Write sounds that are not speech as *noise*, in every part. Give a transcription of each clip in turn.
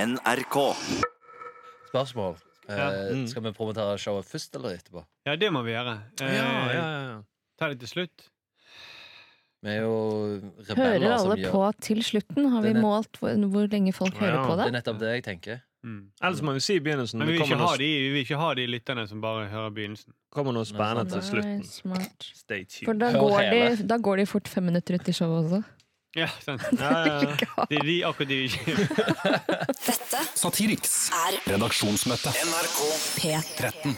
NRK. Spørsmål. Eh, Ja. Mm. Skal vi promotere showet først eller etterpå? Ja, det må vi gjøre. Eh, Ja, ja, ja. Ta det til slutt. Vi er jo rebeller Hører som alle gjør på til slutten? Har Det vi er nett- målt hvor, hvor lenge folk Ja, hører på Det det? er nettopp det jeg tenker. Mm. Ellers må vi si i begynnelsen. Men vi Det vil, ikke kommer ha noe, de, vi vil ikke ha de lytterne som bare hører begynnelsen. kommer noe spennende til Nei, slutten. smart. Stay sånn, eh, For tuned. da Hør går, hele. de, da går de fort fem minutter ut i showet også. Ja, *laughs* sant. Ja, ja, ja. Det er de akkurat de vi ikke Dette Satiriks er redaksjonsmøte. P13.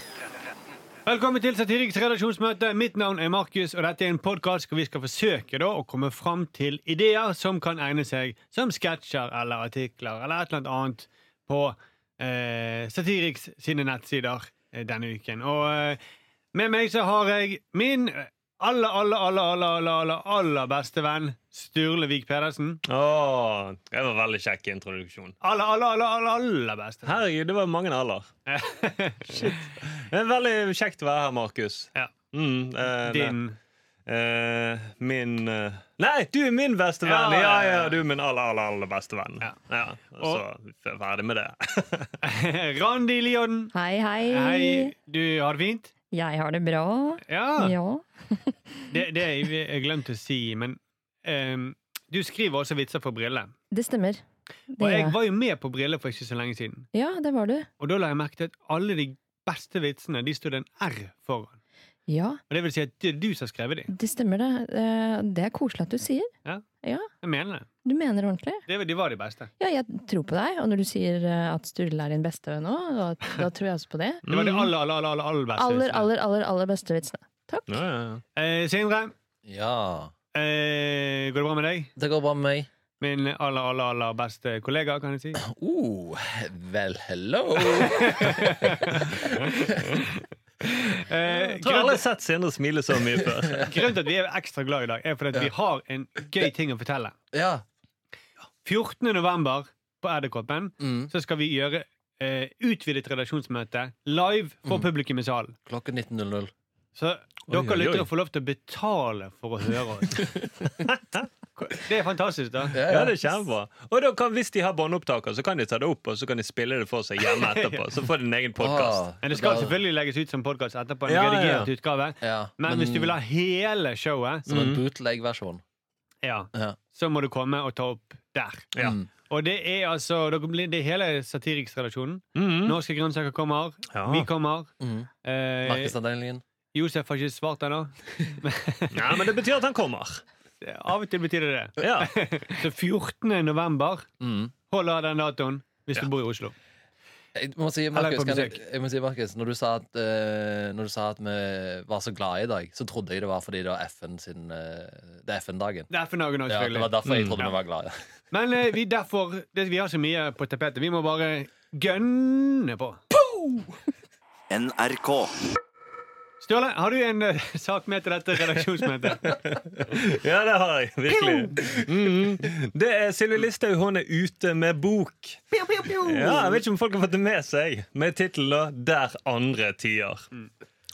Velkommen til Satiriks redaksjonsmøte. Mitt navn er Markus, og dette er en podkast hvor vi skal forsøke da, å komme fram til ideer som kan egne seg som sketsjer eller artikler eller et eller annet annet på eh, Satiriks sine nettsider eh, denne uken. Og eh, med meg så har jeg min aller, aller, aller, aller, aller, aller, aller beste venn Sturle Vik Pedersen. Åh, det var veldig kjekk introduksjon. Aller, aller, aller, aller, aller beste. venn. Herregud, det var mange aller. *laughs* Shit. Det er veldig kjekt å være her, Markus. Ja. Mm, eh, Din *laughs* nei, eh, min eh, Nei, du er min beste Ja, venn! Ja, ja, ja, ja. du er min aller, aller, aller beste venn. Ja. og så ferdig med det. *laughs* Randi Lioden. Hei, hei. Hei, du har det fint? Jeg har det bra. Ja. Ja. Det, det jeg jeg glemte å si, men ehm, du skriver også vitser for Brille. Det stemmer. Det Og jeg gjør jeg. var jo med på Brille for ikke så lenge siden. Ja, det var du. Og da la jeg merke til at alle de beste vitsene de sto det en R foran. Ja, Og det vil si at det er du som har skrevet de. det stemmer det. Eh, Det er koselig at du sier. Jeg mener det. Du mener det ordentlig. det. De var de beste. Ja, jeg tror på deg. Og når du sier eh, at Sturle er din beste venn òg, da, da tror jeg også på det. Det var de aller, aller, aller, aller, aller beste. Mm. Aller, vitsene. aller, aller, aller beste vitsene. Takk. Ja, ja, ja. Eh, Sindre, Ja. eh, går det bra med deg? Det går bra med meg. Min aller, aller, aller beste kollega, kan jeg si. Uh, vel, hello! Eh, *laughs* Jeg tror aldri jeg grunnen, har sett Sindre smile så mye *laughs* før. grunnen til at vi er ekstra glad i dag, er fordi at vi har en gøy ting å fortelle. *laughs* Ja. 14. november på Edderkoppen Mm. så skal vi gjøre eh, utvidet redaksjonsmøte live for Mm. publikum i salen. Klokka 19.00. Så Oi, dere oi, oi. lyttere får lov til å betale for å høre *laughs* oss. det er fantastisk, da. Ja, det er kjempebra. Og da kan, hvis de har båndopptaker, så kan de ta det opp og så kan de spille det for seg hjemme etterpå. Så får de en egen podkast. Ah, Men det skal da- selvfølgelig legges ut som podkast etterpå. en Ja, ja, ja. redigert utgave. ja, Men, hvis du vil ha hele showet, Som en Mm. bootleg-versjon. ja, Ja. så må du komme og ta opp der. Ja. Mm. Og det er altså dere blir- det er hele Satiriksredaksjonen. Mm. Ah. Norske grønnsaker kommer. Ja. Vi kommer. Mm. Eh, Markedsavdelingen. Josef har ikke svart ennå. Nei, men det betyr at han kommer. Av og til betyr det det. *laughs* Ja. Så 14. november Mm. holder den datoen hvis du bor i Oslo. Jeg må si, Eller Markus, på kan jeg, besøk. jeg må si, Markus når, du sa at, eh, når du sa at vi var så glade i dag, så trodde jeg det var fordi det var FN sin eh, Det er FN-dagen. Det er for Norge nå, Ja, det var selvfølgelig. derfor jeg Mm. trodde Ja. vi var glade. Men eh, vi, derfor, det, vi har så mye på tapetet. Vi må bare gønne på. NRK. Sturle, har du en eh, *laughs* sak med til dette redaksjonsmøtet? ja, det har jeg. Virkelig. Mm. Det er Sylvi Listhaug. Hun er ute med bok. Ja, jeg vet ikke om folk har fått det med seg. Med tittelen 'Der andre tier'.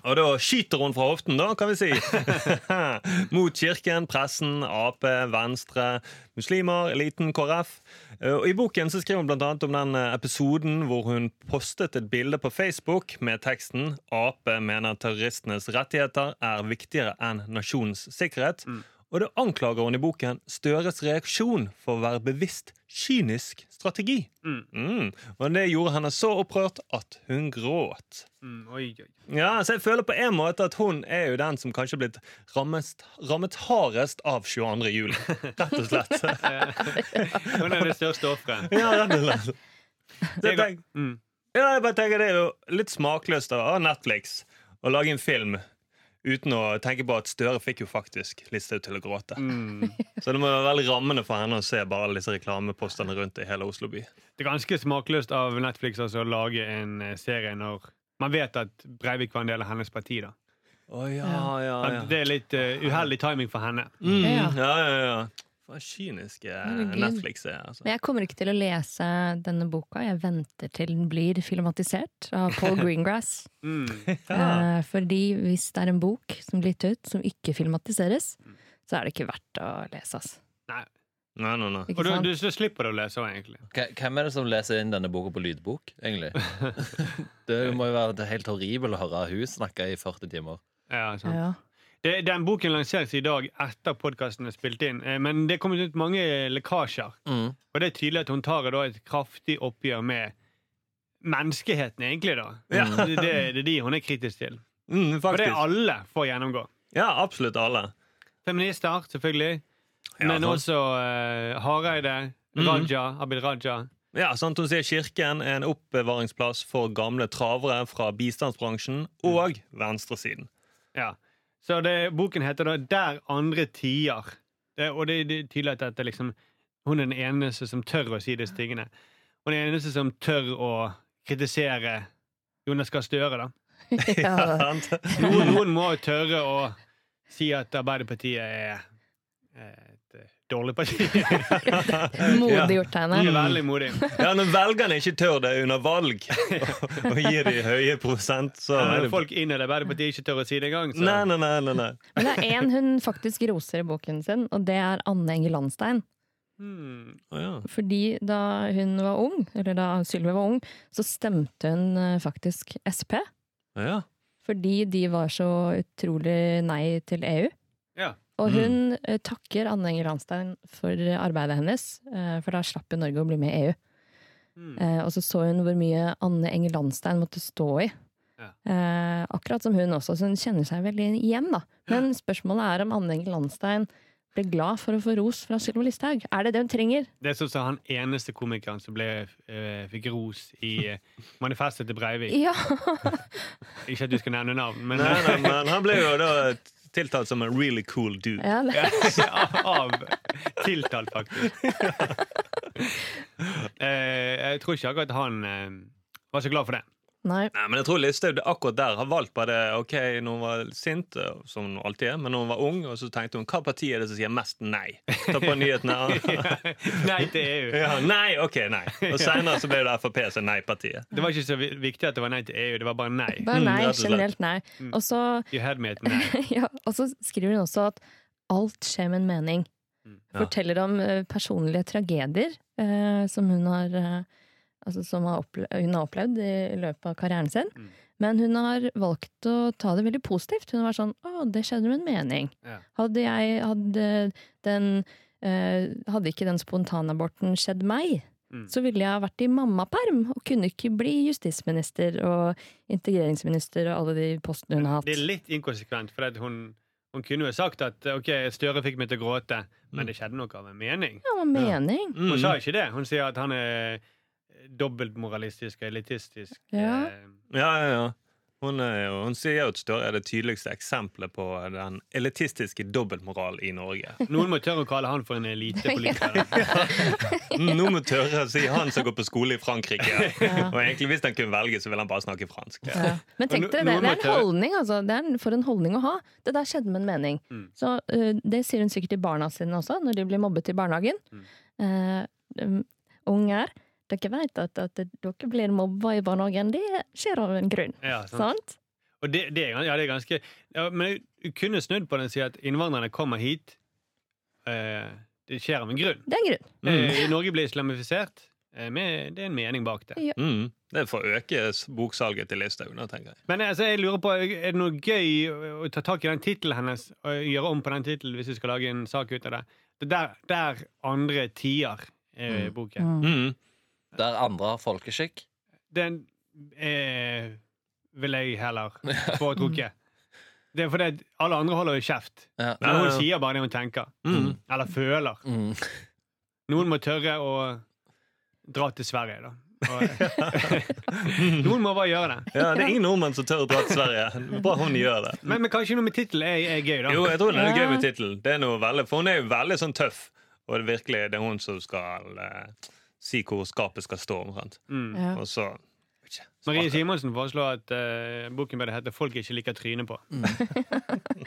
Og da skyter hun fra hoften, da, kan vi si. *laughs* Mot kirken, pressen, Ap, Venstre, muslimer, eliten, KrF. Eh, Og I boken så skriver hun bl.a. om den eh, episoden hvor hun postet et bilde på Facebook med teksten 'Ap mener terroristenes rettigheter er viktigere enn nasjonens sikkerhet'. Og da anklager hun i boken Støres reaksjon for å være bevisst kynisk strategi. Mm. Og det gjorde henne så opprørt at hun gråt. Mm, oi, oi. Ja, så jeg føler på en måte at hun er jo den som kanskje er blitt rammet, rammet hardest av 22. juli. Rett og *laughs* slett. Hun er det største offeret. Ja, rett og slett. Så jeg tenk, Mm. ja, jeg bare tenker det er jo litt smakløst av Netflix å lage en film uten å tenke på at Støre fikk jo faktisk Listhaug til å gråte. Mm. Så det må være veldig rammende for henne å se bare alle disse reklamepostene rundt i hele Oslo by. Det er ganske smakløst av Netflix altså, å lage en eh, serie når man vet at Breivik var en del av hennes parti. da. Å ja, Ah, ja, Men Det er litt eh, uheldig timing for henne. Mm, Ja. ja, ja, ja. Hva kyniske Herregud. Netflix er. Altså. Men jeg kommer ikke til å lese denne boka. Jeg venter til den blir filmatisert av *laughs* Paul Greengrass. Mm. Eh, fordi hvis det er en bok som blir gitt ut, som ikke filmatiseres, så er det ikke verdt å lese. ass. Nei. Nei, nei, nei. Ikke Og du, sant? du, så slipper du å lese den, egentlig. K- Hvem er det som leser inn denne boka på lydbok, *laughs* egentlig? Det må jo være helt horribelt å høre hun snakke i 40 timer. Ja, sant. ja. Det, den boken lanseres i dag etter podkasten er spilt inn, eh, men det er kommet ut mange lekkasjer. Mm. Og det er tydelig at hun tar da et kraftig oppgjør med menneskeheten, egentlig. da. Mm, Ja. Det, det, det er de hun er kritisk til. Mm, Og det er faktisk. alle får gjennomgå. Ja, absolutt alle. Feminister, selvfølgelig. Ja, men sant. Mm. også eh, Hareide, Raja, Abid Raja. Ja, sant, Hun sier kirken er en oppbevaringsplass for gamle travere fra bistandsbransjen og *laughs* venstresiden. Ja. Så det, boken heter da 'Der andre tier'. Det, og det, det er tydelig at dette liksom, hun er den eneste som tør å si disse tingene. Hun er den eneste som tør å kritisere Jonas Gahr Støre, da. *laughs* Ja. Sant? Noen, noen må jo tørre å si at Arbeiderpartiet er et eh, dårlig *laughs* parti. Det Modig gjort av er henne. veldig modig. Ja, Når velgerne ikke tør det under valg *laughs* og gir de høye prosent, så er Når det folk innad i Arbeiderpartiet ikke tør å si det engang, så *laughs* Nei, nei, nei. nei, nei. Men det er én hun faktisk roser i boken sin, og det er Anne Enge Landstein. hmm, Å, ja. Fordi da hun var ung, eller da Sylvi var ung, så stemte hun eh, faktisk SP. Å, ja. Fordi de var så utrolig nei til E EU. Ja. Og Mm. hun eh, takker Anne Enger Landstein for arbeidet hennes, eh, for da slapp jo Norge å bli med i EU. Mm. hmm. Eh, og så så hun hvor mye Anne Enger Landstein måtte stå i. Ja. Eh, akkurat som hun også, så hun kjenner seg veldig igjen, da. Men spørsmålet er om Anne Enger Landstein ble glad for å få ros fra Sylvi Listhaug. Er det det hun trenger? Det er sånn som han eneste komikeren som ble, eh, fikk ros i eh, manifestet til Breivik. Ja! *laughs* Ikke at du skal nevne navn, men *laughs* nei, nei, men han ble jo da tiltalt som en really cool dude. ja det. av tiltalt, *laughs* faktisk. Eh, jeg tror ikke akkurat han eh, var så glad for det. Nei. Nei, men jeg tror Listhaug det- akkurat der har valgt bare det. Ok, Når hun var sint, eh, som hun alltid er, men når hun var ung, og så tenkte hun hva parti er det som sier mest nei? Ta på *laughs* nyhetene. Nei til E EU. Ja, nei, ok, nei. *laughs* Og senere så ble det Frp som er nei-partiet. Det var ikke så vi- viktig at det var nei til EU, det var bare nei. Bare Mm, nei, rett og slett. Mm. generelt nei. Og så, You had me at *laughs* nei. ja, og så skriver hun også at alt skjer med en mening. Mm. Ja. Forteller om eh, personlige tragedier eh, som hun har eh, Altså som har opple hun har opplevd i løpet av karrieren sin. Mm. Men hun har valgt å ta det veldig positivt. Hun har vært sånn 'Å, det skjedde med en mening'. Ja. Hadde jeg Hadde den eh, Hadde ikke den spontanaborten skjedd meg, Mm. så ville jeg vært i mammaperm og kunne ikke bli justisminister og integreringsminister og alle de postene hun har Det er hatt. litt inkonsekvent, for at hun, hun kunne jo sagt at ok, Støre fikk meg til å gråte, men det skjedde noe av en mening. Ja, hva mening? Mm. Hun sa ikke det. Hun sier at han er dobbeltmoralistisk og elitistisk. Ja. eh, Ja, ja, ja. Hun, er jo, hun sier jo at Støre er det tydeligste eksempelet på den elitistiske dobbeltmoral i Norge. *laughs* Noen må tørre å kalle han *laughs* for en elitepolitiker. Nå må tørre å si han som går på skole i Frankrike. Ja. *laughs* Og egentlig Hvis han kunne velge, så ville han bare snakke fransk. Ja. Men tenk Og no- dere det, noen må det er tørre- en holdning, altså. Det er en, for en holdning å ha. Det der skjedde med en mening. Mm. Så eh, det sier hun sikkert til barna sine også, når de blir mobbet i barnehagen. Mm. Eh, um, unger, dere vet at, at dere blir mobba i barnehagen. Det skjer av en grunn. Ja, sånn. sant? Sant? Og det, det, er gans- ja, det er ganske ja, Men du kunne snudd på den og si at innvandrerne kommer hit. eh, det skjer av en grunn. Det er en grunn. Mm. Eh, I Norge blir islamifisert. eh, Med, det er en mening bak det. Mm. Det får øke s- boksalget til Listhaug, nå, tenker jeg. Men altså, jeg lurer på, er det noe gøy å- å ta tak i den tittelen hennes og gjøre om på den tittelen hvis vi skal lage en sak ut av det? Det der, der andre tier eh, boken. Mm. Der andre har folkeskikk. Den eh, vil jeg heller *laughs* foretrukke. Det er fordi at alle andre holder jo kjeft. Ja. Men Ja, hun ja. sier bare det hun tenker. Mm. Eller føler. Mm. Noen må tørre å dra til Sverige, da. Og, *laughs* noen må bare gjøre det. Ja, det er ingen nordmenn som tør å dra til Sverige. Bra hun gjør det. Men, men kanskje noe med tittelen er, er gøy, da. Jo, jeg tror det er Ja. gøy med tittelen. Det er noe veldig- For hun er jo veldig sånn tøff. Og det er virkelig det er hun som skal eh, si hvor skapet skal stå. Omtrent. Mm. *laughs* Ja. Og så Marie Simonsen foreslår at eh, boken burde hete 'Folk ikke liker trynet på'. *laughs*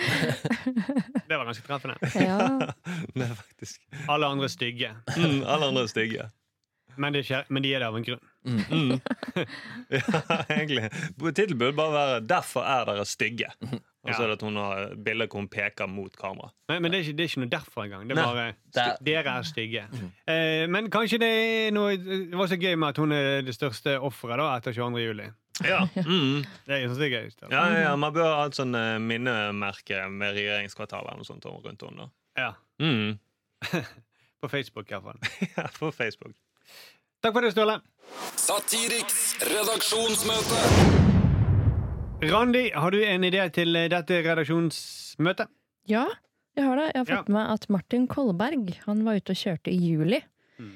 det var ganske treffende. Ja. *laughs* Nei, faktisk. Alle andre er stygge, Mm, alle andre er stygge. *laughs* men, det skjer, men de er det av en grunn. Ja, egentlig. Tittelen burde bare være 'Derfor er dere stygge'. Og så er det at hun har bilder hvor hun peker mot kamera. Men, men det, er ikke, det er ikke noe derfor engang. Det er Nei. bare Det er- dere er stygge. Eh, men kanskje det er noe Det var så gøy med at hun er det største offeret da, etter 22. juli. Ja, *laughs* mm. Det er, jeg synes det er gøy. Stian. ja, ja, Mm. ja Man bør ha et sånn eh, minnemerke med regjeringskvartalet eller noe sånt om- rundt henne. Ja, Mm. på Facebook, iallfall. *laughs* Ja, på Facebook. Takk for det, Ståle. Satiriks redaksjonsmøte. Randi, har du en idé til eh, dette redaksjonsmøtet? Ja, jeg har det. Jeg har Ja. fått med meg at Martin Kolberg han var ute og kjørte i juli. Mm.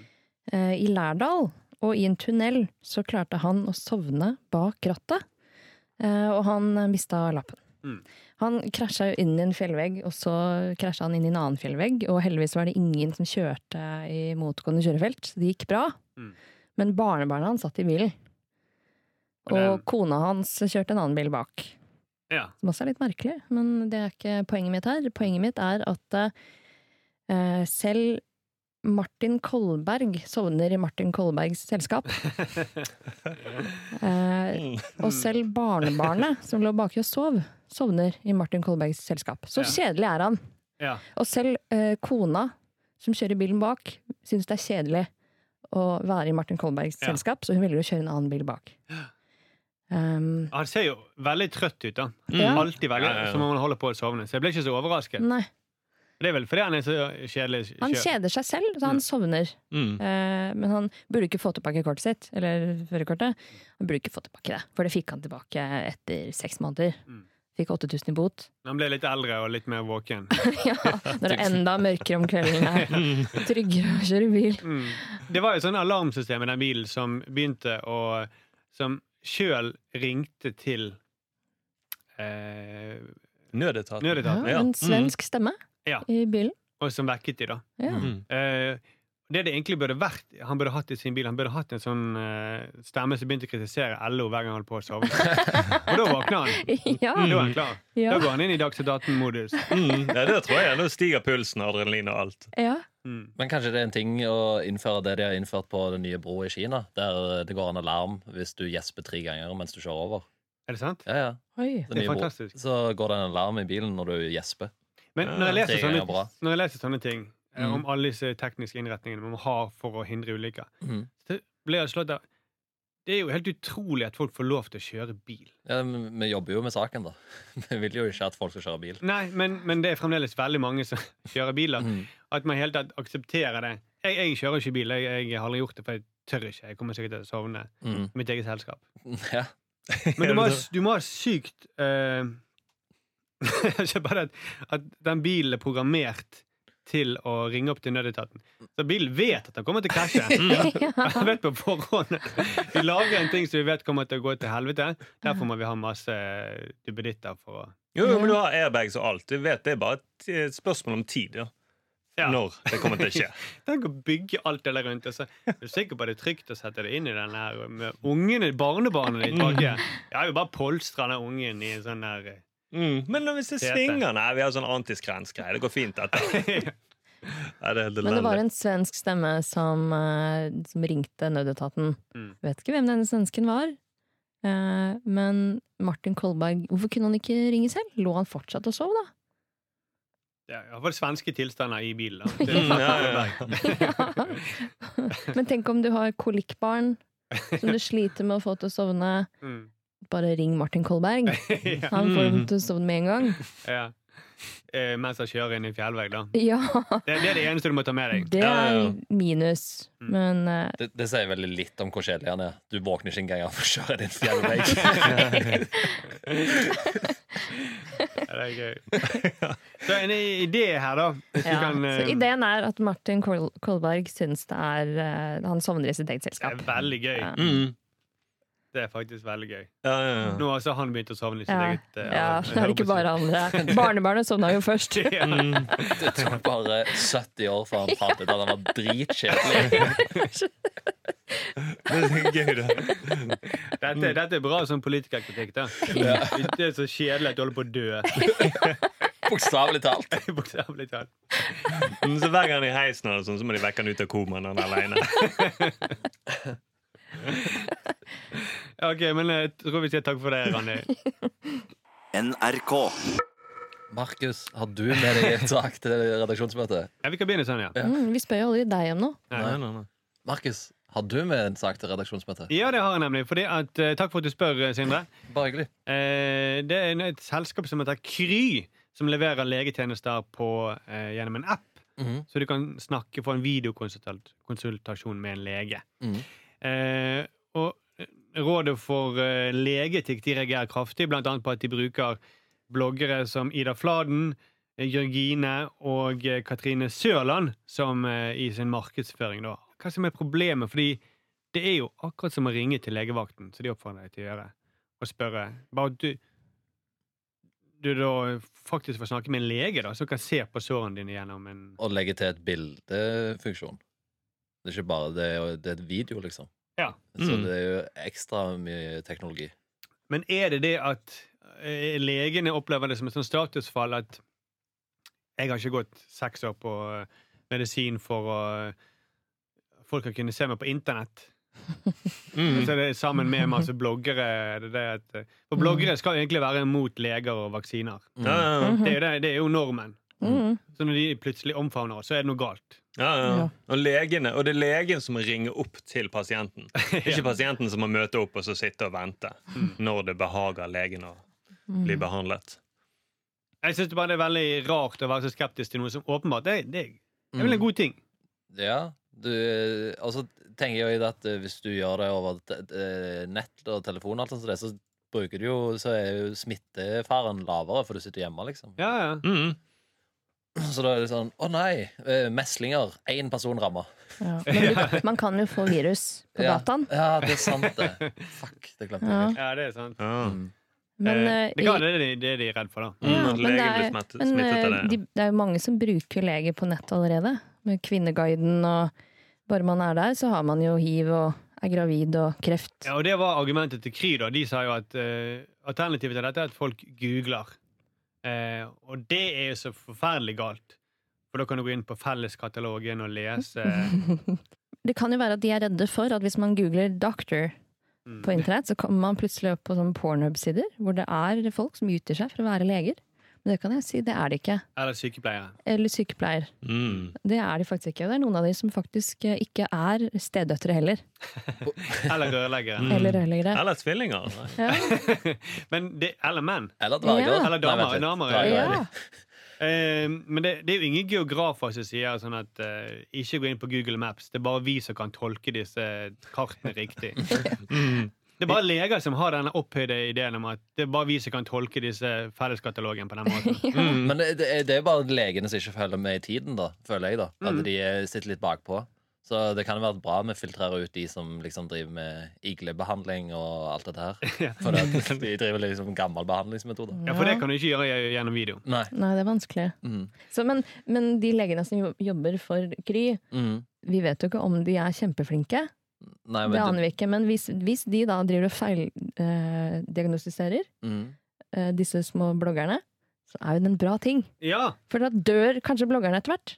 Eh, I Lærdal og i en tunnel så klarte han å sovne bak rattet. Eh, og han eh, mista lappen. Mm. Han krasja jo inn i en fjellvegg, og så krasja han inn i en annen fjellvegg. Og heldigvis var det ingen som kjørte i motgående kjørefelt, så det gikk bra. Mm. Men barnebarna hans satt i bilen. Og Og det- kona hans kjørte en annen bil bak. Ja. Som også er litt merkelig, men det er ikke poenget mitt her. Poenget mitt er at eh, selv Martin Kolberg sovner i Martin Kolbergs *laughs* selskap. eh, Mm. og selv barnebarnet som lå baki og sov, sovner i Martin Kolbergs selskap. Så kjedelig er han. Ja. Og selv eh, kona som kjører bilen bak, syns det er kjedelig å være i Martin Kolbergs Ja. selskap, så hun velger å kjøre en annen bil bak. Um, Han ser jo veldig trøtt ut, da. Mm. Ja. Alltid veldig, Ja, ja, ja. som om han holder på å sovne. Så jeg ble ikke så overrasket. nei. Det er vel fordi han er så kjedelig. kjø- Han kjeder seg selv, så han sovner. Mm. Eh, men han burde ikke få tilbake kortet sitt, eller førerkortet. Han burde ikke få tilbake det, for det fikk han tilbake etter seks måneder. Mm. Fikk 8000 i bot. *laughs* Han ble litt eldre og litt mer våken. ja, når det er enda mørkere om kvelden er tryggere å kjøre bil. Mm. *laughs* Det var jo sånn alarmsystem i den bilen som begynte å Som sjøl ringte til eh, Nødetaten. Ja, nødetaten, Ja. en svensk stemme Ja. i bilen. og som vekket de da. Ja. Mm. Eh, det det egentlig burde vært han burde hatt i sin bil, han burde hatt en sånn eh, stemme som begynte å kritisere LO hver gang han holdt på å sove. og da våkner han. ja, Da er han klar. ja, Da går han inn i Dagsnytt 18-modus. Mm. Ja, det tror jeg. Nå stiger pulsen og adrenalin og alt. ja. Mm. Men kanskje det er en ting å innføre det de har innført på den nye broa i Kina, der det går en alarm hvis du gjesper tre ganger mens du kjører over. Er det sant? Ja, ja. *laughs* Oi. Den Det er nye broa. fantastisk. Så går det en alarm i bilen når du gjesper. Men når jeg Det leser er jo sånne, bra. når jeg leser sånne ting eh, Mm. om alle disse tekniske innretningene man har for å hindre ulykker, Mhm. så blir jeg slått av Det er jo helt utrolig at folk får lov til å kjøre bil. Ja, men vi jobber jo med saken, da. *laughs* Vi vil jo ikke at folk skal kjøre bil. Nei, men, men det er fremdeles veldig mange som *laughs* kjører biler. Mhm. At man helt tatt aksepterer det. Jeg, jeg kjører ikke bil, jeg, jeg har aldri gjort det, for jeg tør ikke. Jeg kommer sikkert til å sovne. Mhm. i Mitt eget selskap. Mm. Ja. Men du må, ha- du må ha sykt eh, *laughs* Ikke bare at, at den bilen er programmert til å ringe opp til nødetaten. Så bilen vet at den kommer til å krasje. Den vet på forhånd. Vi lager en ting som vi vet kommer til å gå til helvete. Derfor må vi ha masse duppeditter for å Jo, jo, men du har airbags og alt. Du vet, Det er bare et et spørsmål om tid. Ja. Ja. Når det kommer til å *laughs* skje. Tenk å bygge alt det der rundt. Og så er du sikker på at det er trygt å sette det inn i den her med ungene, barnebarnet ditt baki. Jeg har jo bare polstra den ungen i en sånn der eh, Mm. Men hvis det Tete. svinger Nei, vi har sånn antiskrensgreie. Det går fint, *laughs* dette. Nei, det er helt Men det var elendig. en svensk stemme som, eh, som ringte nødetaten. Mm. Vet ikke hvem denne svensken var. eh, men Martin Kolberg, hvorfor kunne han ikke ringe selv? Lå han fortsatt og sov, da? *laughs* Ja, i hvert fall svenske tilstander i bilen. da. Det- Mm, ja, ja, ja. Ja. Men tenk om du har kolikkbarn som du sliter med å få til å sovne. Mm. *laughs* Bare ring Martin *laughs* Kolberg. ja. Han får dem til å sovne med en gang. Ja. Eh, mens jeg kjører inn i en fjellvegg, da. Ja, Det, det er det eneste du må ta med deg. det Ja, ja, Mm. er ja. minus. Men eh, *laughs* Det, det sier veldig litt om hvor kjedelig han er. Du våkner ikke engang av å kjøre din *laughs* fjellvegg. Ja, det er gøy. Så en idé her, da. Hvis ja. du kan Så eh, ideen er at Martin Kol Kolberg syns det er eh, Han sovner i sitt eget Det er selskap. veldig gøy. Ja. Mm. Det er faktisk veldig gøy. Ja, ja, ja. Nå har altså han begynt å sovne i sitt Ja. eget eh, ja, *laughs* det er ikke bare andre. *laughs* Barnebarnet sovna jo først. *laughs* Ja. Det tok bare 70 år før han fant ut at han var dritkjedelig. *laughs* Det er gøy, det. Mm. Dette, dette er bra som politikerkritikk, *laughs* da. Det er så kjedelig at du holder på å dø. *laughs* Bokstavelig talt. Bokstavelig talt. Mm, Så hver gang han er i heisen, eller sånn, så må de vekke han ut av komaen når han er alene. eh, Ok, men jeg tror vi sier takk for det, Randi. NRK. Markus, har du med deg en sak til redaksjonsmøtet? Ja, vi kan begynne sånn, ja. Ja. Mm, vi spør jo aldri deg om noe. Nei, nei, nei. Markus, har du med en sak til redaksjonsmøtet? Ja, det har jeg nemlig. Fordi at, eh, takk for at du spør, eh, Sindre. Bare hyggelig. Eh, det er et selskap som heter Kry, som leverer legetjenester på, eh, gjennom en app. Mhm. Så du kan snakke få en videokonsultasjon med en lege. Mhm. Eh, og Rådet for eh, legeetikk de reagerer kraftig, blant annet på at de bruker bloggere som Ida Fladen, eh, Jørgine og eh, Katrine Sørland som, eh, i sin markedsføring. Da. Hva som er problemet? Fordi det er jo akkurat som å ringe til legevakten, så de oppfordrer deg til å gjøre og spørre Bare at du, du da faktisk får snakke med en lege da, som kan se på sårene dine gjennom en Og legge til et bildefunksjon. Det er ikke bare det, er jo- det er et video, liksom. Ja. Så Mm. det er jo ekstra mye teknologi. Men er det det at eh, legene opplever det som et sånn statusfall at jeg har ikke gått seks år på eh, medisin for å Folk har kunnet se meg på internett. Mm. Så er det sammen med masse bloggere. Det er det at, eh, for Mm. bloggere skal egentlig være mot leger og vaksiner. Ja, ja, ja. Det er jo, det, det er jo normen. Mm. Så når de plutselig omfavner oss, så er det noe galt. Ja, ja. Ja. Og, legene, og det er legen som må ringe opp til pasienten. Ikke pasienten som må møte opp og så sitte og vente når det behager legen å Mm. Mm. bli behandlet. Jeg syns bare det er veldig rart å være så skeptisk til noe som åpenbart det, det, det er Mm. vel en god ting. Ja, du, og så tenker jeg jo at eh, hvis du gjør det over te- eh, nett og telefon, og alt sånt, som det, så bruker du jo, så er jo smittefaren lavere, for du sitter hjemme, liksom. *clears throat* Ja, ja. Mm. Så da er det sånn, å nei, eh, meslinger, én person rammer. Ja. *laughs* Men du, man kan jo få virus på Ja. dataen. Ja, det er sant *laughs* det. Fuck, det glemte Ja. jeg. ja det er sant. Ja. Men, Eh, eh, det kan være det, de- det de er redd for, da. Mm, Ja, at men det legen blir er, smittet, men smittet av eh, de, det. det er jo mange som bruker leger på nett allerede. Med Kvinneguiden og Bare man er der, så har man jo hiv og er gravid og kreft. Ja, og Det var argumentet til Kry. da. De sa jo at eh, alternativet til dette er at folk googler. Eh, og det er jo så forferdelig galt. For da kan du gå inn på Felleskatalogen og lese eh, Det kan jo være at de er redde for at hvis man googler 'doctor' Mm. på internett, så kommer man plutselig opp på sånne pornhub-sider hvor det er folk som utgir seg for å være leger. Men det kan jeg si, det er det ikke. Eller sykepleiere. Eller sykepleier. Mm. Det er de faktisk ikke. Og det er noen av de som faktisk eh, ikke er stedøtre heller. Eller rørleggere. Eller rørleggere. Eller tvillinger. Ja. *laughs* Men det, eller menn. Eller dverger. Ja. Eller damer, damer, ja. Dverger, Ja. Eh, men det, det er jo ingen geografer som sier sånn at eh, ikke gå inn på Google Maps. Det er bare vi som kan tolke disse kartene riktig. Mm. Det er bare leger som har denne opphøyde ideen om at det er bare vi som kan tolke disse felleskatalogen på den måten. Mm, Men det, det er- det er bare legene som ikke følger med i tiden, da, føler jeg. da Mm. At de er- sitter litt bakpå. Så det kan jo være bra vi filtrerer ut de som liksom driver med iglebehandling og alt dette *laughs* her. For det, de driver liksom gammel behandlingsmetode. Ja, For det kan du ikke gjøre gjennom video. Nei. Nei, det er vanskelig. Mm. Så, men, men de legene som jo- jobber for Kry, Mm. vi vet jo ikke om de er kjempeflinke. Nei, Det men aner det, vi ikke. Men hvis, hvis de da driver og feildiagnostiserer diagnostiserer mm. eh, disse små bloggerne, så er jo det en bra ting. Ja, For da dør kanskje bloggerne etter hvert.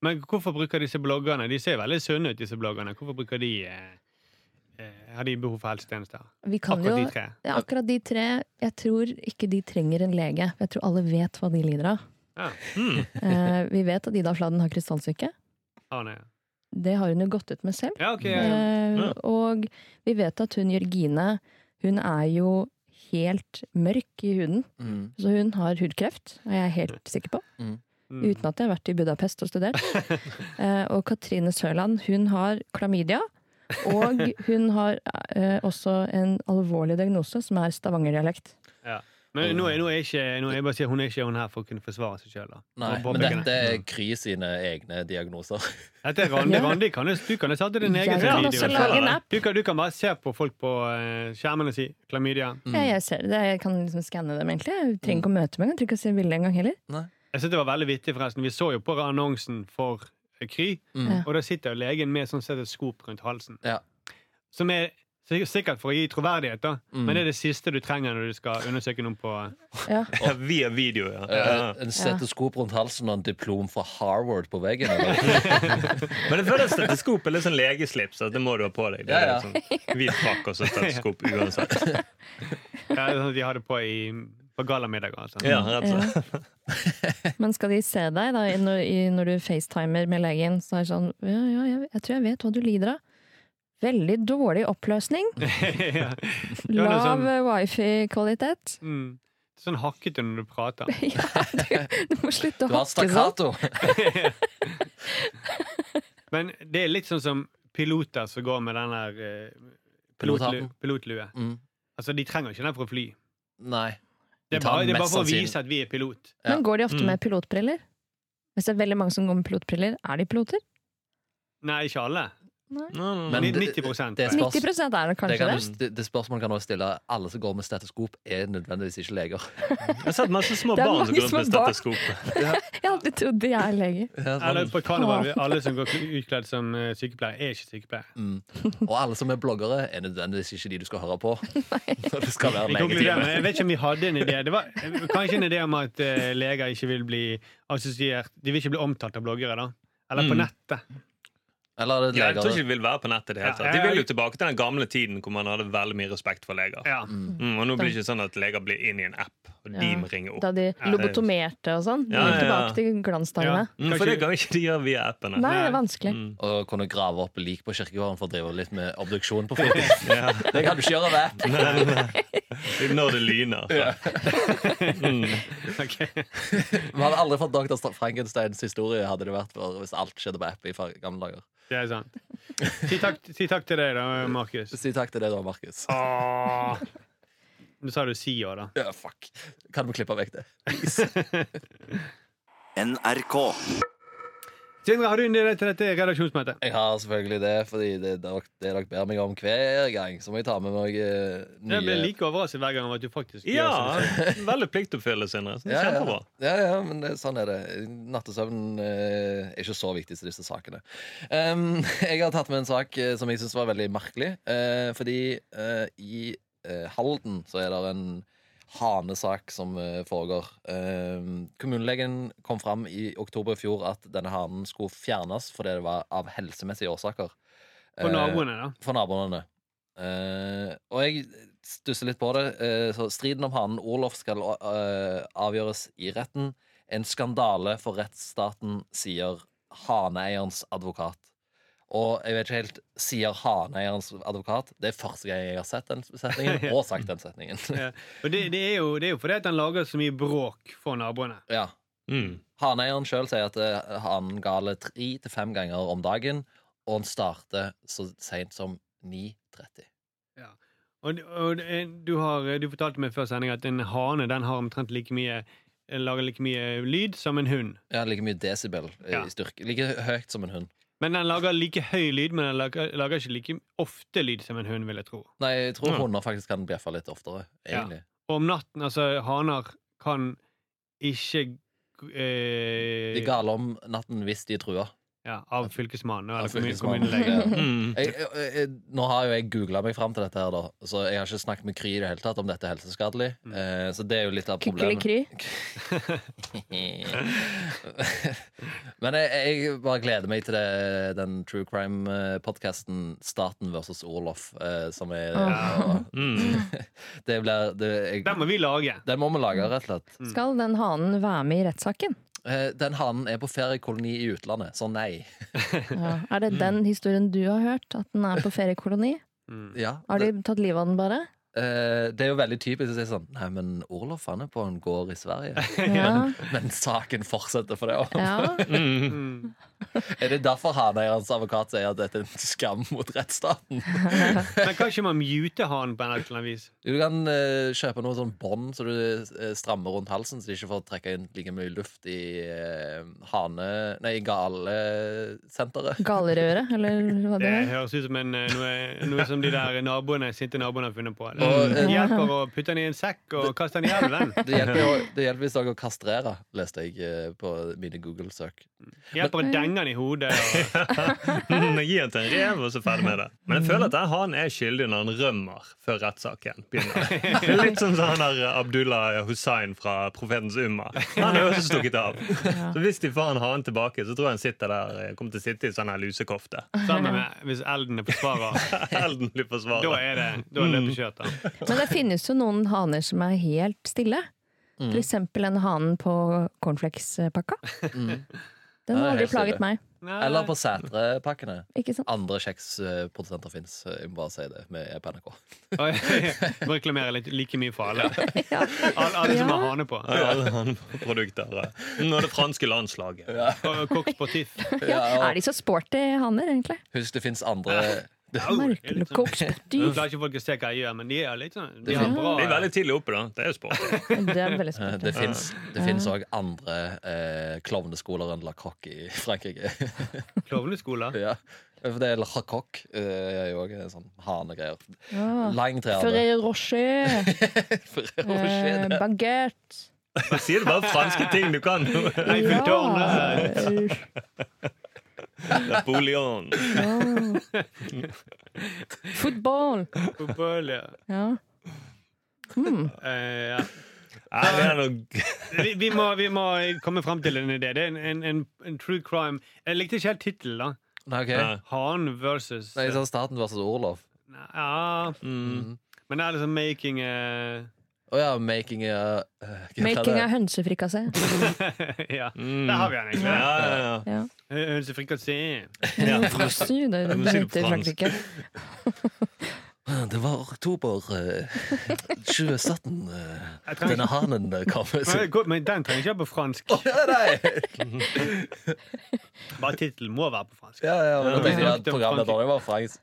Men hvorfor bruker disse bloggerne De ser veldig sunne ut, disse bloggerne. Hvorfor bruker de eh, eh, Har de behov for helsetjenester? Vi kan Akkurat jo, de tre. ja, akkurat de tre Jeg tror ikke de trenger en lege. for Jeg tror alle vet hva de lider av. Ja. Eh, vi vet at Ida Fladen har krystallsyke. Ah, nei. Det har hun jo gått ut med selv. ja, ok. ja. Eh, Ja. og vi vet at hun Jørgine Hun er jo helt mørk i huden. Mm. Så hun har hudkreft, er jeg helt sikker på. Mm. Uten at jeg har vært i Budapest *laughs* og studert. Eh, og Katrine Sørland, hun har klamydia. Og hun har eh, også en alvorlig diagnose som er stavangerdialekt. Men nå er, nå er ikke nå er jeg bare sier, Hun er ikke hun her for å kunne forsvare seg sjøl. Nei, men dette Mm. er Kry sine egne diagnoser. Dette er Randi. Ja. Randi kan jo, du kan jo sette din egen Jeg video. kan også lage en app. Du kan, du kan bare se på folk på eh, skjermen og si klamydia. *laughs* Ja, jeg, ser det. jeg kan liksom skanne dem, egentlig. Jeg Mm. trenger ikke å møte meg, jeg trenger ikke å se bildet engang heller. Jeg synes det var veldig vittig forresten Vi så jo på annonsen for eh, Kry, Mm. og da sitter jo legen med sånn stetoskop rundt halsen. Ja. Som er sik- sikkert for å gi troverdighet, da. Mm. Men det er det siste du trenger når du skal undersøke noen på Ja. Ja, via video, ja. ja. Eh, En stetoskop rundt halsen og en diplom fra Harvard på veggen. *laughs* Eller? Men det føles stetoskop er litt sånn legeslips. At det må du ha på deg. Det Ja, er liksom ja. sånn hvit frakk og så stetoskop uansett. ja, det er sånn at De har det på i, på gallamiddager. Altså. Ja, rett og slett. Ja. Men skal de se deg da i- når, i, når du facetimer med legen, så er det sånn Ja, ja, jeg, jeg tror jeg vet hva du lider av. Veldig dårlig oppløsning. *laughs* Ja. Ja, det er Lav sånn- eh, wifi-kvalitet. *laughs* Mm. Det er Sånn hakkete når du prater. Ja, du, du må slutte å Du har hakke sånn. stakkato. Men det er litt sånn som piloter som går med den der eh, pilotlu, Pilothatten. pilotlue. Mm. Altså, de trenger ikke den for å fly. Nei. Det er De tar bare, det er bare mest for å sannsynlig- vise at vi er pilot. Ja. Men går de ofte Mm. med pilotbriller? Hvis det er veldig mange som går med pilotbriller, er de piloter? Nei, ikke alle. Mm. Men Ni- det- 90 det er spørs- 90 er det Det, kanskje kan det. du, sti- det spørsmålet kan du stille. Alle som går med stetoskop, er nødvendigvis ikke leger. Jeg har sett masse små Det er barn som går mange rundt med små barn. stetoskop. Jeg har alltid trodd de er *laughs* leger. Ja, Eller sånn. på karneval. vi- Alle som går kl- utkledd som eh, sykepleiere, er ikke sykepleiere. Mm. Og alle som er bloggere, er nødvendigvis ikke de du skal høre på. Når det skal være Vi konkluderer med, legetime. jeg vet ikke om vi hadde en idé. Det var eh, kanskje en idé om at eh, leger ikke vil bli assosiert De vil ikke bli omtalt av bloggere, da. Eller på Mm. nettet. Eller er det Ja, jeg tror ikke leger? de vil være på nettet. i det hele Ja, tatt De jeg- vil jo tilbake til den gamle tiden hvor man hadde veldig mye respekt for leger. Ja. Mm, og nå blir det ikke sånn at leger blir inn i en app, og de Ja. må ringe opp. Da de lobotomerte og sånn. De Ja, er ja, ja. tilbake til glansdagene. Mm, for det kan ikke de gjøre via appene. Nei, det er Nei. vanskelig. Mm. Å kunne grave opp lik på kirkegården for å drive litt med obduksjon på fritiden. Det kan du ikke gjøre ved. Nei, nei. Når det lyner. *laughs* Mm. *laughs* Ok. Vi hadde aldri fått Dr. Frankensteins historie hadde det vært for hvis alt skjedde på app i fa- gamle dager. Det er sant. Si takk, si takk til deg, da, Markus. Si takk til det, da, Markus. Ah. *laughs* Åh. Nå sa du si òg, da. Ja, fuck. Kan du klippe vekk det? NRK. Sindre, har du en idé til dette redaksjonsmøtet? Jeg har selvfølgelig det, fordi det er dere, det dere ber meg om hver gang. Så må jeg ta med meg eh, Jeg blir nye like overrasket hver gang over at du faktisk Ja, gjør sånn. veldig pliktoppfyllelse, Sindre. Så det er ja, Kjempebra. ja, ja, men det, sånn er det. Nattesøvnen eh, er ikke så viktig til disse sakene. Em, *laughs* jeg har tatt med en sak eh, som jeg syns var veldig merkelig. eh, fordi eh, i eh, Halden så er det en hanesak som eh, foregår. Em, kommunelegen kom fram i oktober i fjor at denne hanen skulle fjernes fordi det var av helsemessige årsaker. For Eh, naboene, da. for naboene. Eh, og jeg stusser litt på det. Eh, så striden om hanen Olof skal eh, avgjøres i retten. En skandale for rettsstaten, sier haneeierens advokat. Og jeg vet ikke helt Sier haneeierens advokat? Det er første gang jeg har sett den setningen, og sagt den setningen. Ja. Og det, det, er jo, det er jo fordi at han lager så mye bråk for naboene. *laughs* ja. Mm. Haneeieren sjøl sier at eh, hanen galer tre til fem ganger om dagen, og han starter så seint som 9.30. Og, og eh, du, har, du fortalte meg før sending at en hane den har omtrent like mye eh, lager like mye lyd som en hund. Ja, like mye desibel eh, Ja. i styrke. Like høyt som en hund. Men den lager like høy lyd, men den lager, lager ikke like ofte lyd som en hund, vil jeg tro. Nei, jeg tror Ja. hunder faktisk kan bjeffe litt oftere. Egentlig. Og om natten, altså, haner kan ikke eh, De galer om natten hvis de er trua. ja, Av fylkesmannen eller Av kommune- fylkesmannen. kommunelegen. *laughs* Mm. Jeg, jeg, jeg, nå har jo jeg googla meg fram til dette, her da så jeg har ikke snakket med Kry i det hele tatt om dette er helseskadelig. Mm. Eh, så det er jo litt av problemet. Kykkelikry. *laughs* Men jeg, jeg bare gleder meg til det, den true crime-podkasten Staten versus Olof, eh, som er Åh. Mm. *laughs* Det blir det, jeg, Den må vi lage. Den må vi lage, rett og slett. Skal den hanen være med i rettssaken? Eh, den hanen er på feriekoloni i utlandet, så nei. Ja. Er det den historien du har hørt? At den er på feriekoloni? Ja, Har de tatt livet av den bare? Eh, det er jo veldig typisk å si sånn Nei, men Orlof han er på en gård i Sverige. Ja. Men saken fortsetter for det også. ja. Mm. Er det derfor Haneierens advokat sier at dette er en skam mot rettsstaten? Men kan ikke man mute hanen på en eller annen vis? Du kan eh, kjøpe noe sånn bånd så du eh, strammer rundt halsen, så de ikke får trekke inn like mye luft i eh, hane... Nei, i galesenteret. Galerøret, eller hva Det det er. høres ut som en, eh, noe, noe som de der naboene, sinte naboene har funnet på. Det Og, eh, hjelper å putte den i en sekk og kaste den i elven. *laughs* Det hjelper, jo, det hjelper hvis dere kastrerer, leste jeg eh, på mine Google-søk. Det hjelper å denge den i hodet. Og, *laughs* Mm, Gi den til en rev, og så ferdig med det. Men jeg føler at den hanen er skyldig når han rømmer før rettssaken begynner. Det er litt som sånn han der Abdullah Hussein fra Profetens Umma. Han er jo også stukket av. Så hvis de får en hane tilbake, så tror jeg han sitter der kommer til å sitte i sånn her *laughs* lusekofte. sammen med hvis elden er forsvarer. Elden blir Da forsvaret. Mm. er det da er løpet kjørt. da. Men det finnes jo noen haner som er helt stille. Mm. F.eks. en hanen på cornflakespakka. Mm. Ja, Den har aldri helt plaget stille. meg. Nei. *laughs* Eller på Sætre-pakkene. Ikke sant? Andre kjeksprodusenter fins. Jeg må bare si det. Vi er på NRK. Oi, *laughs* Må reklamere litt like mye for alle. *laughs* Ja. Alle, alle som Ja. har hane på. Ja, alle han- produkter. ja. Nå er det franske landslaget. Og Coq *laughs* Sportif. Ja, Er de så sporty haner, egentlig? og husk det fins andre Au, det er Merkelig litt sånn- Nå kokspdyr. klarer ikke folk å se hva jeg gjør, men de er litt sånn De Det har er- bra De er veldig tidlig oppe, da. Det er jo sport. Det er veldig Eh, sporty. Det fins det fins òg andre eh, klovneskoler enn La Coque i Frankrike. *laughs* klovneskoler. ja. For det er La Coque eh, er jo òg sånn hanegreier. Ja. Lang trearme. Ferrero Rocher, *laughs* eh, Ferrero baguette Jeg sier det bare franske ting du kan. Eiffeltårnet. Napoleon. *laughs* Ja. Football. Fotball, ja. Ja. Hmm. Eh, ja. Ja, det er noe vi, vi, må, vi må komme fram til en idé. Det er en, en, en, en true crime. Jeg likte ikke helt tittelen, da. Nei, ok. Ja. Han versus Nei, sånn. jeg sa Staten versus Orlov. Ja, mm. men det er liksom making eh, Å ja, making a eh, hva heter Making det? av hønsefrikassé. *laughs* Ja, Mm. der har vi han Ja, egentlig. ja, ja. Ja. Hønsefrikassé. *laughs* Ja. Frosty, det, må det si det heter i på fransk. Frankrike. Det var oktober *laughs* eh, 2017. eh, Jeg trenger Denne hanen eh, kom. Så, Men, gå- men den trenger ikke være på fransk. ja, nei. Bare tittelen må være på fransk. Ja, ja, men jeg tenkte ja, programmet var fransk.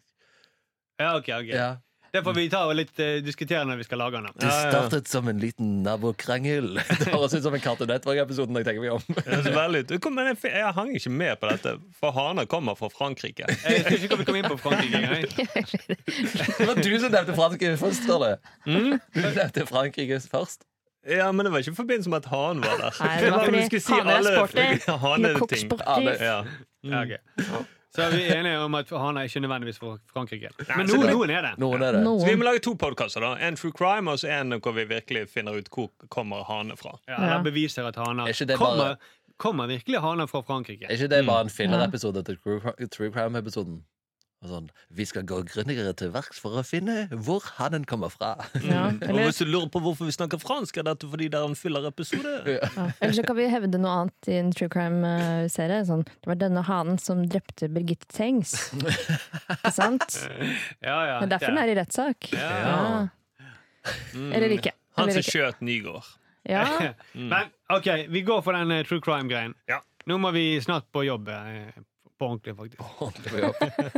Ja, ok, ok Ja. Det får vi ta og litt eh, diskutere når vi skal lage den. da. Det startet som en liten nabokrangel. *laughs* Det høres ut som en Cartoon Network-episode. når jeg tenker meg om. *laughs* Det ser veldig ut. Kom, men jeg, jeg hang ikke med på dette, for haner kommer fra Frankrike. Jeg husker ikke hva vi kom inn på Frankrike engang. Det var du som nevnte Frankrike først. Ståle. Du nevnte Frankrike først. Ja, Men det var ikke i forbindelse med at hanen var der. Nei, det var du fordi skulle haner er alle sporty. haneting. Koksportiv. Ja. Ja, ok. Så er vi enige om at han er ikke nødvendigvis fra Frankrike. Men så noen, det- noen er det. Noen er det. Så vi må Noen. lage to podkaster. En True Crime og så en hvor vi virkelig finner ut hvor kommer hane fra. Ja, eller beviser at haner Er ikke det kommer, bare- kommer virkelig haner fra Frankrike. Er ikke det bare en fillerepisode til True- True Crime-episoden? Og Sånn, vi skal gå grundigere til verks for å finne hvor hanen kommer *laughs* fra. Ja, Og eller, hvis du lurer på hvorfor vi snakker fransk, er dette fordi det er en fillerepisode? ja. eller så kan vi hevde noe annet i en true crime-serie. Sånn, det var denne hanen som drepte Birgitte Tengs. Ikke sant? Ja, ja, Det er derfor den er i rettssak. Ja. Eller ikke. Mm. Han Eller som ikke. skjøt Nygård. *laughs* Ja. *laughs* Men OK, vi går for den eh, true crime-greien. Ja. Nå må vi snart på jobb. eh, På ordentlig, faktisk. Ordentlig på jobb.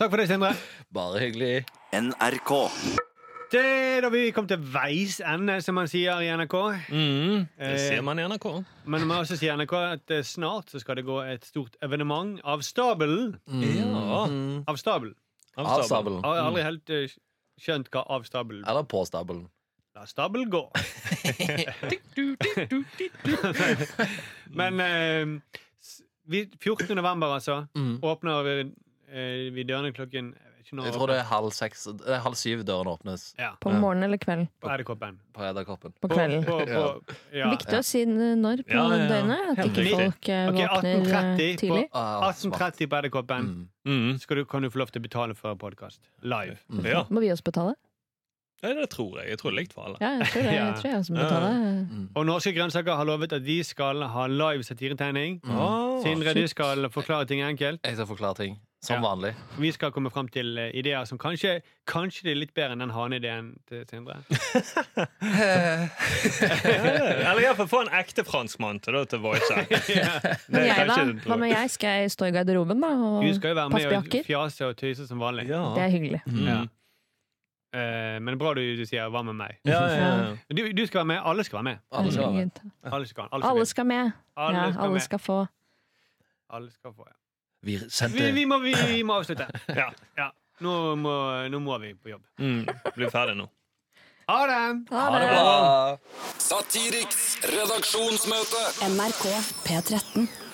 Takk for det, Sindre. Bare hyggelig. NRK. Det er da vi kom til veis ende, som man sier i NRK. Mm, det Eh. ser man i NRK. Men man må også si i NRK at eh, snart så skal det gå et stort evenement av stabelen. Ja. Mm. Av stabelen. Av stabelen. Jeg har aldri helt eh, skjønt hva av stabelen Eller på stabelen. La stabel gå. *laughs* Men eh, s- vi, 14. november, altså, Mm. åpner vi, eh, vi dørene klokken jeg vet ikke når Jeg tror det åpner- er halv, seks, det er halv syv døren åpnes ja, På morgenen eller kvelden? på Edderkoppen. på Edderkoppen. På På- kvelden. på- på- ja. Viktig å si når på Ja, ja, ja. døgnet, at Helt ikke riktig. folk eh, Ok, våkner eh, 18.30 på- tidlig. Ah, smart. 18.30 på Edderkoppen. Mm. Mm. Skal du, kan du få lov til å betale for podkast live. Mm. Mhm. Ja, Må vi også betale? Nei, det tror jeg. Jeg tror det er likt for alle. Ja, jeg tror det. Jeg *laughs* Ja. Mm. tror jeg også må betale. Og Norske Grønnsaker har lovet at de skal ha live satiretegning. Mm. Ah. Sindre, du skal forklare ting enkelt. Jeg skal forklare ting. Som Ja. vanlig. Vi skal komme fram til eh, ideer som kanskje, kanskje det er litt bedre enn den haneideen til Sindre. Eller iallfall få en ekte franskmann til, da, til voice act. Det er *laughs* Men jeg, da? kanskje- Hva med jeg? Skal jeg stå i garderoben, da? Du skal jo være Og passe med på og jakker? fjase og tøyse som vanlig. Ja. Det er hyggelig. Mm. Ja. Eh, men bra du, du sier 'hva med meg'. Ja, ja, ja. Du, du skal være med. Alle skal være med. Alle skal være med. Herregud. Alle skal, alle skal, Alle med. skal med. Alle Ja, skal alle med. skal få. Alle skal få, ja. Vi vi, vi, sendte må, vi, vi må avslutte. Ja. Ja. Nå, må, nå må vi på jobb. Mm. Blir ferdig nå. Ha det! Ha det bra! Satiriks redaksjonsmøte. NRK P13.